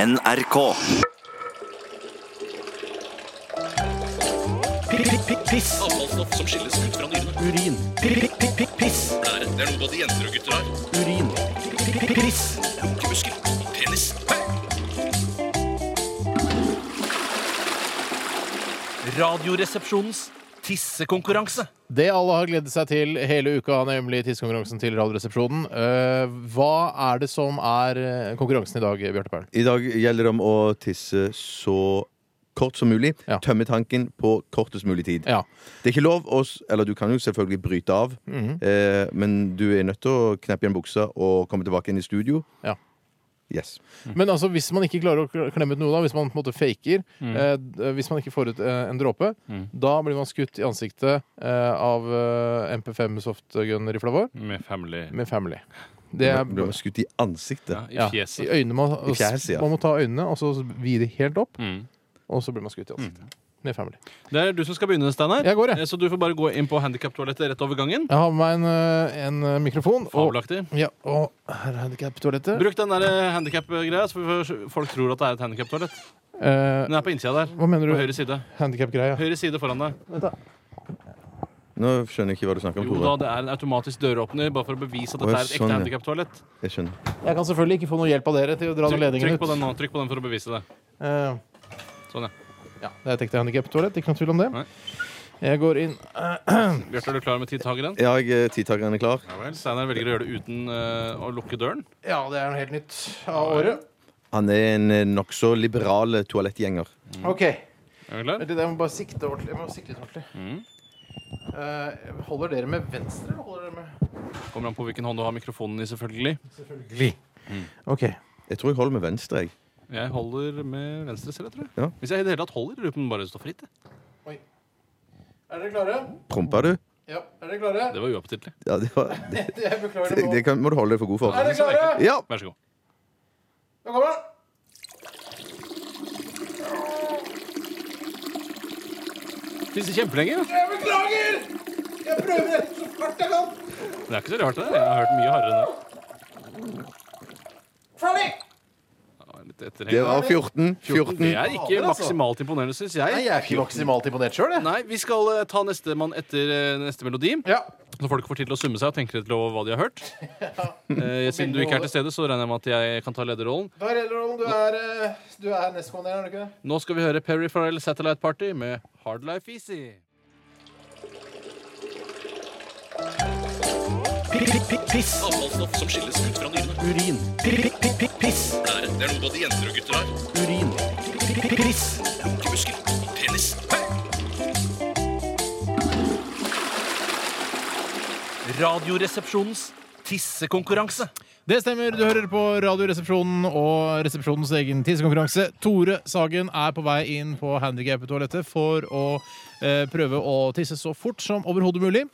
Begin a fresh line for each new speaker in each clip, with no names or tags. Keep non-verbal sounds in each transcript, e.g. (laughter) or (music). NRK.
Piss,
avfallsstoff som skilles ut fra dyrene.
urin, piss,
Blære. Det er noe både jenter og gutter har.
urin, piss.
Lukkemuskel. Penis. Radioresepsjonens tissekonkurranse.
Det alle har gledet seg til hele uka, nemlig tidskonkurransen til Radioresepsjonen. Eh, hva er det som er eh, konkurransen i dag, Bjarte Perl?
I dag gjelder det om å tisse så kort som mulig.
Ja.
Tømme tanken på kortest mulig tid.
Ja.
Det er ikke lov å s- Eller du kan jo selvfølgelig bryte av,
Mhm.
eh, men du er nødt til å kneppe igjen buksa og komme tilbake inn i studio.
Ja.
Yes.
Men altså, hvis man ikke klarer å kl- klemme ut noe, da, hvis man på en måte faker,
Mm.
eh, d- hvis man ikke får ut eh, en dråpe, da blir man skutt i ansiktet eh, av eh, MP5 softgun-rifla vår
Med family
med Family. Det er
Ble man skutt i ansiktet?
ja, i
ja, i
fjeset.
øynene man,
I fjeset, ja.
man må ta øynene og så vide helt opp,
Mm.
og så blir man skutt i ansiktet. Med Family.
Det er du som skal begynne, Steinar.
Jeg går, jeg.
Eh, Så du får bare gå inn på handikaptoalettet rett over gangen.
Jeg har med meg en, eh, en eh, mikrofon. Og,
Fabelaktig.
ja, og her er handikaptoalettet.
Bruk den handikap-greia, så vi får- folk tror at det er et handikaptoalett.
Eh,
Den er på innsida der.
hva mener
På
du?
høyre side.
Handikap-greia.
Høyre side foran deg.
Nå skjønner jeg ikke hva du snakker om,
Jo da,
Tore.
det er en automatisk døråpner, bare for å bevise at dette
Å,
er et ekte
sånn, ja.
handikaptoalett.
Jeg skjønner.
Jeg kan selvfølgelig ikke få noe hjelp av dere til å dra den
Trykk,
ledningen
trykk på den
ut.
nå. Trykk på den for å bevise det.
Eh,
Sånn, ja.
ja, det er et ekte handikaptoalett, ikke noe tvil om det.
Nei.
Jeg går inn
Bjarte, er du klar med tidtakeren?
Ja, jeg, eh, tidtakeren er klar.
Steinar velger å gjøre det uten eh, å lukke døren.
Ja, det er noe helt nytt av året.
Han er en eh, nokså liberal eh, toalettgjenger.
Mm.
OK.
Er du klar?
Vent litt, jeg må bare sikte ordentlig. Jeg må sikte litt ordentlig.
Mm.
Eh, holder dere med venstre? eller Holder dere med
Kommer an på hvilken hånd du har mikrofonen i, selvfølgelig.
Selvfølgelig.
Mm.
OK.
Jeg tror jeg holder med venstre, jeg.
Jeg holder med venstre selv, jeg tror jeg.
Ja.
Hvis jeg i det hele tatt holder, lurer på om den bare står fritt. jeg.
Er dere klare?
Prompa du?
Ja. Er dere klare?
Det var uappetittlig.
Ja, det, var, det,
(laughs) Jeg beklager
det kan, må du holde deg for god for.
Er dere klare?
Ja!
Vær så god.
Nå kommer den!
Tisse kjempelenge. ja.
Jeg beklager! Jeg prøver så hardt jeg kan.
Det er ikke så rart, det. der. Jeg har hørt mye hardere nå.
Ferdig!
Det var litt etterheng.
Det var 14. 14.
Det er ikke
Fader, altså.
maksimalt imponerende, syns
Nei,
jeg.
jeg er ikke maksimalt imponert sjøl, jeg.
Nei, vi skal eh, ta nestemann etter eh, neste melodi.
Ja.
Så folk får tid til å summe seg og tenke litt over hva de har hørt. Eh, siden du ikke er til stede, så regner jeg med at jeg kan ta lederrollen.
Da er Elrond, du er, eh, du er nestkommanderende, er du ikke det?
Nå skal vi høre Perry Farrell Satellite Party med Hard Life Easy.
piss,
Avfallsstoff som skilles ut fra dyrene.
urin, piss,
Blære. Det er noe både jenter og gutter har.
urin, piss.
Lukkemuskel. Penis.
Radioresepsjonens tissekonkurranse.
Det stemmer. Du hører på Radioresepsjonen og Resepsjonens egen tidskonkurranse. Tore Sagen er på vei inn på handikaptoalettet for å eh, prøve å tisse så fort som overhodet mulig.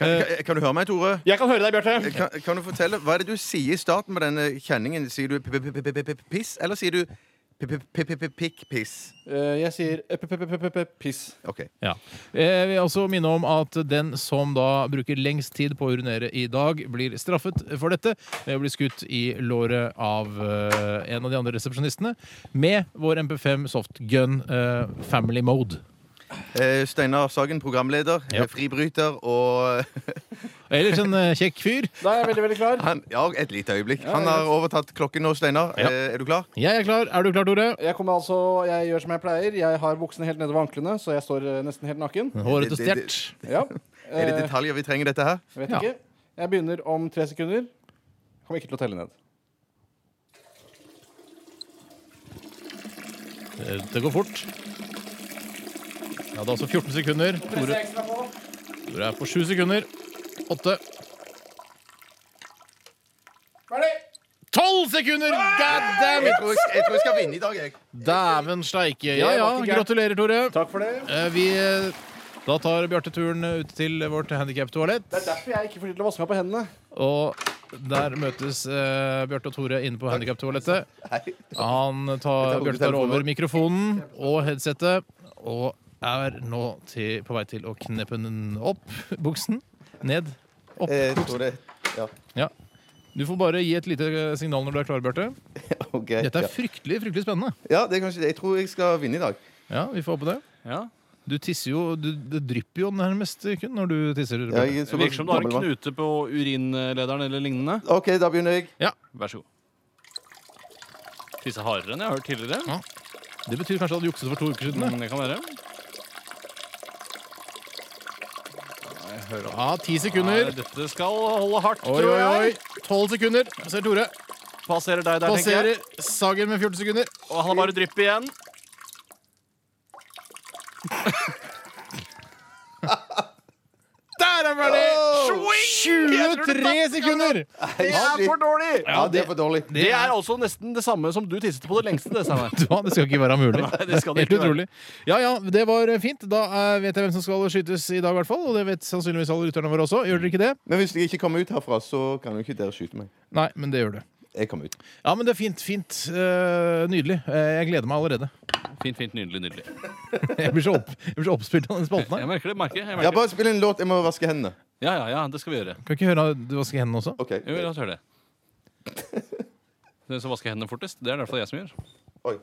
Kan, kan- kan du høre meg, Tore?
Jeg kan høre deg, Bjarte.
Kan, kan du fortelle, Hva er det du sier i starten med denne kjenningen? Sier du p-p-p-p-piss, eller sier du p-p-p-pikk-piss?
Eh, Jeg sier piss.
OK.
Ja. Jeg vil også minne om at den som da bruker lengst tid på å urinere i dag, blir straffet for dette ved å bli skutt i låret av eh, en av de andre resepsjonistene med vår MP5 softgun eh, family mode.
Eh, Steinar Sagen, programleder,
Ja.
eh, fribryter og (laughs)
Ellers en eh, kjekk fyr.
Da er jeg veldig, veldig klar.
han, Ja, et lite øyeblikk. Han har overtatt klokken nå, Steinar.
Ja.
Eh, er du klar?
Jeg er klar. Er du klar, Tore?
Jeg kommer altså, jeg gjør som jeg pleier. Jeg har buksene helt nede ved anklene, så jeg står eh, nesten helt naken.
Det-
Hårete
det-
stjert.
Ja.
Er det
Eh,
detaljer vi trenger i dette her?
vet
Ja.
ikke. Jeg begynner om tre sekunder. Kommer ikke til å telle ned.
Eh, Det går fort. Jeg hadde altså 14 sekunder. Tore, Tore er på 7 sekunder. 8. 12 sekunder! God damn
Jeg
it!
tror jeg, jeg, tror jeg skal vinne i dag, jeg.
Dæven steike. Ja, ja.
var ikke gærent.
Gratulerer, Tore.
Takk for det.
Eh, Vi, eh, da tar Bjarte turen ut til vårt handikaptoalett.
Det er derfor jeg ikke får tid til å vaske meg på hendene.
Og der møtes eh, Bjarte og Tore inne på handikaptoalettet. Han tar,
Jeg tar
Bjarte tar
telefonen.
over mikrofonen og headsetet og er nå til, på vei til å kneppe den opp. Buksen. Ned. Opp.
Eh, Tore. Ja.
Ja. Du får bare gi et lite signal når du er klar, Bjarte.
Ok,
Dette
ja.
er fryktelig fryktelig spennende.
ja, det er kanskje det. Jeg tror jeg skal vinne i dag.
Ja, vi får håpe det.
Ja.
Du tisser jo du, Det drypper jo nærmest kun når du tisser.
Ja,
Bjarte.
jeg er
Det virker som du har en
gammel mann.
knute på urinlederen eller lignende.
OK, da begynner jeg.
Vær så god. Tisse hardere enn jeg har hørt tidligere.
Det betyr kanskje at du jukset for to uker siden.
Mm,
da.
Det kan være.
Ja, ti
Nei,
sekunder.
dette skal holde hardt,
Oi,
tror
oi, oi.
jeg.
Tolv sekunder, ser Tore.
Passerer deg der, tenker jeg.
Passerer Sagen med 14 sekunder.
Og han har bare drypp igjen. (laughs)
Der er ferdig! 23 sekunder!
Det
Det er for dårlig!
Ja, det er for dårlig.
Det er altså nesten det samme som du tisset på det lengste. Det, Steinar.
Ja, det skal ikke være (laughs) mulig.
Nei, det skal det
Helt
ikke være.
utrolig. Ja, ja, det var fint. Da eh, vet jeg hvem som skal skytes i dag, i hvert fall. Og det vet sannsynligvis alle lytterne våre også. Gjør dere ikke det?
Men hvis jeg ikke kommer ut herfra, så kan jo ikke dere skyte meg.
Nei, men det gjør du.
Jeg kommer ut.
Ja, men det er fint. Fint. eh, nydelig. Eh, jeg gleder meg allerede. (laughs)
Fint, fint, nydelig, nydelig.
Jeg blir så, opp, jeg blir så oppspilt av den spalten
Jeg
her.
merker det. merker jeg
Ja,
merker. det.
bare spill en låt. Jeg må vaske hendene.
Ja, ja, ja, det skal vi gjøre.
Kan ikke høre du vasker hendene også?
OK.
Jo, la oss høre det. Den som vasker hendene fortest, det er det i hvert fall jeg som gjør.
Oi.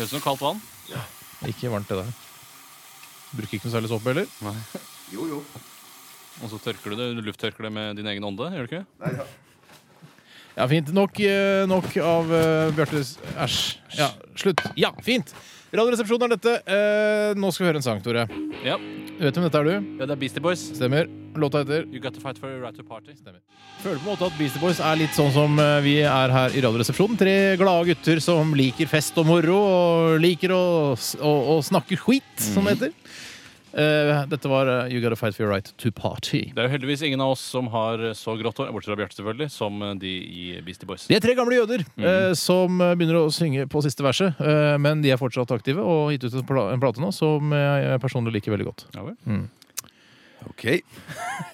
Høres ut som kaldt vann.
Ikke varmt, det der. Bruker ikke noe særlig såpe heller.
Jo, jo.
Og så tørker du det, du lufttørker det med din egen ånde. gjør du ikke?
Nei, ja.
Ja, fint. Nok, eh, nok av uh, Bjartes Æsj. Ja, slutt. Ja, fint! Radioresepsjonen er dette. Eh, nå skal vi høre en sang, Tore.
Ja,
Du vet hvem dette er, du?
ja Det er Beastie Boys.
Stemmer. Låta heter
You got to fight for your right to party.
Føler på en måte at Beastie Boys er litt sånn som eh, vi er her i Radioresepsjonen. Tre glade gutter som liker fest og moro, og liker å, s- å, å snakke skit, som det heter. Eh, dette var eh, You Gotta Fight For Your Right To Party.
Det er jo heldigvis ingen av oss som har så grått hår, bortsett fra Bjarte, selvfølgelig, som de i Beastie Boys.
De er tre gamle jøder
Mhm.
eh, som eh, begynner å synge på siste verset, eh, men de er fortsatt aktive og har gitt ut en pla- en plate nå som jeg personlig liker veldig godt.
Ja, vel.
OK.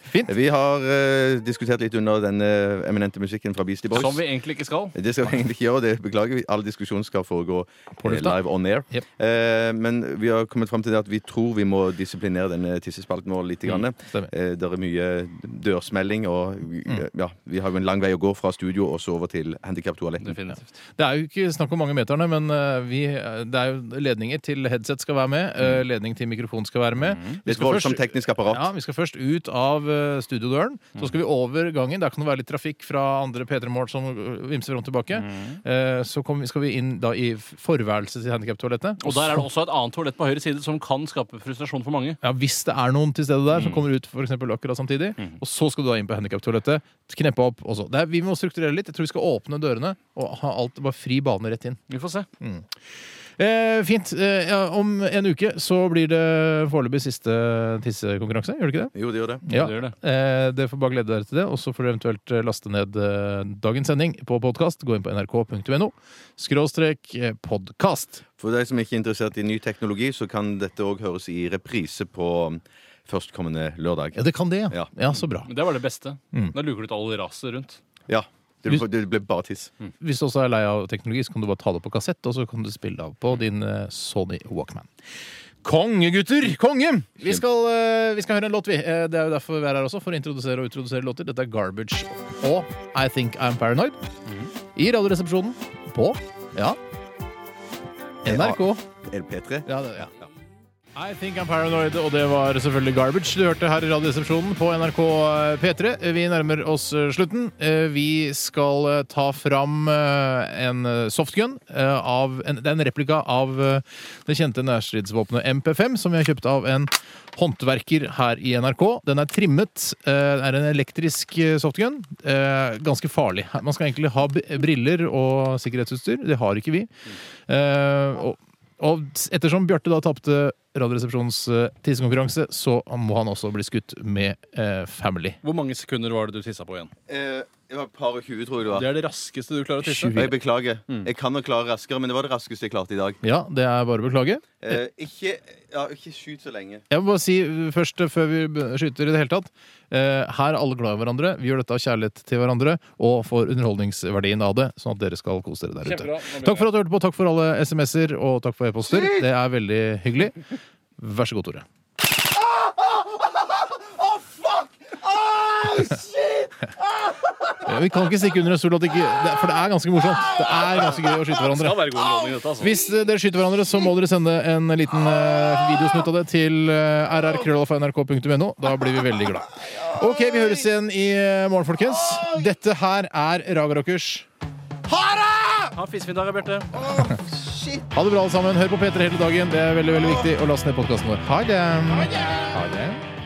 Fint.
Vi har eh, diskutert litt under den eh, eminente musikken fra Beastie Boys.
Som vi egentlig ikke skal.
Det skal vi egentlig ikke gjøre. det Beklager. vi. All diskusjon skal foregå
På
eh,
lufta.
live on air.
Jep.
Eh, men vi har kommet fram til det at vi tror vi må disiplinere denne tissespalten vår
Mm.
litt. Grann.
stemmer.
Eh, det er mye dørsmelling, og
Mm.
eh, ja, vi har jo en lang vei å gå fra studio og så over til handikaptoaletten.
Definitivt.
Det er jo ikke snakk om mange meterne, men eh, vi, eh, det er jo ledninger til headset skal være med, eh,
Mhm.
ledning til mikrofon skal være med.
Det er et voldsomt teknisk apparat.
Ja, Vi skal først ut av eh, studiodøren. Så
Mhm.
skal vi over gangen. Der kan det være litt trafikk fra andre P3-mål som eh, vimser fram og tilbake.
Mhm.
Eh, Så kom, skal vi inn da i forværelset til handikaptoalettet.
Og der er det også et annet toalett på høyre side som kan skape frustrasjon for mange.
Ja, Hvis det er noen til stede der
Mm.
som kommer ut for eksempel, akkurat samtidig. Og så skal du da inn på handikaptoalettet. Kneppe opp. og så. Det er, vi må strukturere litt. Jeg tror vi skal åpne dørene og ha alt bare fri bane rett inn.
Vi får se.
Eh, fint. Eh, ja, om en uke så blir det foreløpig siste tissekonkurranse. Gjør det ikke det?
Jo, det gjør det.
Ja,
Det gjør det.
Eh, dere får bare glede dere til det. Og så får dere eventuelt eh, laste ned eh, dagens sending på podkast. Gå inn på nrk.no skråstrek eh, podkast.
For deg som ikke er interessert i ny teknologi, så kan dette òg høres i reprise på um, førstkommende lørdag.
Ja, det kan det, ja.
Ja.
ja. Så bra.
Men det var det beste. Da luker du ut all raset rundt.
Ja. Det ble, det ble bare tiss.
Hvis du også er lei av teknologi, så kan du bare ta det på kassett, og så kan du spille det av på din eh, Sony Walkman. Konge, gutter! Konge! Vi skal, eh, vi skal høre en låt, vi. Eh, Det er jo derfor vi er her også, for å introdusere og utrodusere låter. Dette er Garbage og I Think I'm Paranoid i Radioresepsjonen på ja, NRK.
Er det P3?
Ja, det, ja. I think I'm paranoid, og det var selvfølgelig garbage du hørte her i Radioresepsjonen på NRK P3. Vi nærmer oss eh, slutten. Eh, Vi skal eh, ta fram eh, en eh, softgun eh, av en, Det er en replika av eh, det kjente nærstridsvåpenet MP5, som vi har kjøpt av en håndverker her i NRK. Den er trimmet. eh, Det er en elektrisk eh, softgun. Eh, Ganske farlig. Man skal egentlig ha b- briller og sikkerhetsutstyr. Det har ikke vi. Eh, og og ettersom Bjarte da tapte Radioresepsjonens eh, tissekonkurranse, så må han også bli skutt med eh, Family.
Hvor mange sekunder var det du tissa på igjen?
Eh, det var et par og tjue, tror jeg det var.
Det er det raskeste du klarer å tisse.
Og Jeg beklager. Jeg kan nok klare raskere, men det var det raskeste jeg klarte i dag.
Ja, det er bare å beklage.
Eh, ikke, ja, ikke skyt så lenge.
Jeg må bare si uh, først, uh, før vi be- skyter i det hele tatt eh, Her er alle glad i hverandre. Vi gjør dette av kjærlighet til hverandre og for underholdningsverdien av det, sånn at dere skal kose dere der ute.
Kjempebra. Nå blir
Takk for at du hørte på, takk for alle SMS-er og takk for e-poster. Det er veldig hyggelig. Vær så god, Tore. (laughs) Eh, Vi kan ikke stikke under en stol at det ikke det- For det er ganske morsomt. Det er ganske gøy å skyte
Det
hverandre.
skal være god underholdning, i dette, altså.
Hvis eh, dere skyter hverandre, så må dere sende en liten eh, videosnutt av det til eh, rrkrøllalfa.nrk.no. Da blir vi veldig glad. OK, vi høres igjen i eh, morgen, folkens. Dette her er Raga Rockers.
Ha fiskefindag, Bjarte.
Ha det bra, alle sammen. Hør på P3 hele dagen. Det er veldig veldig viktig. Og last ned podkasten vår. Ha det. Ha det.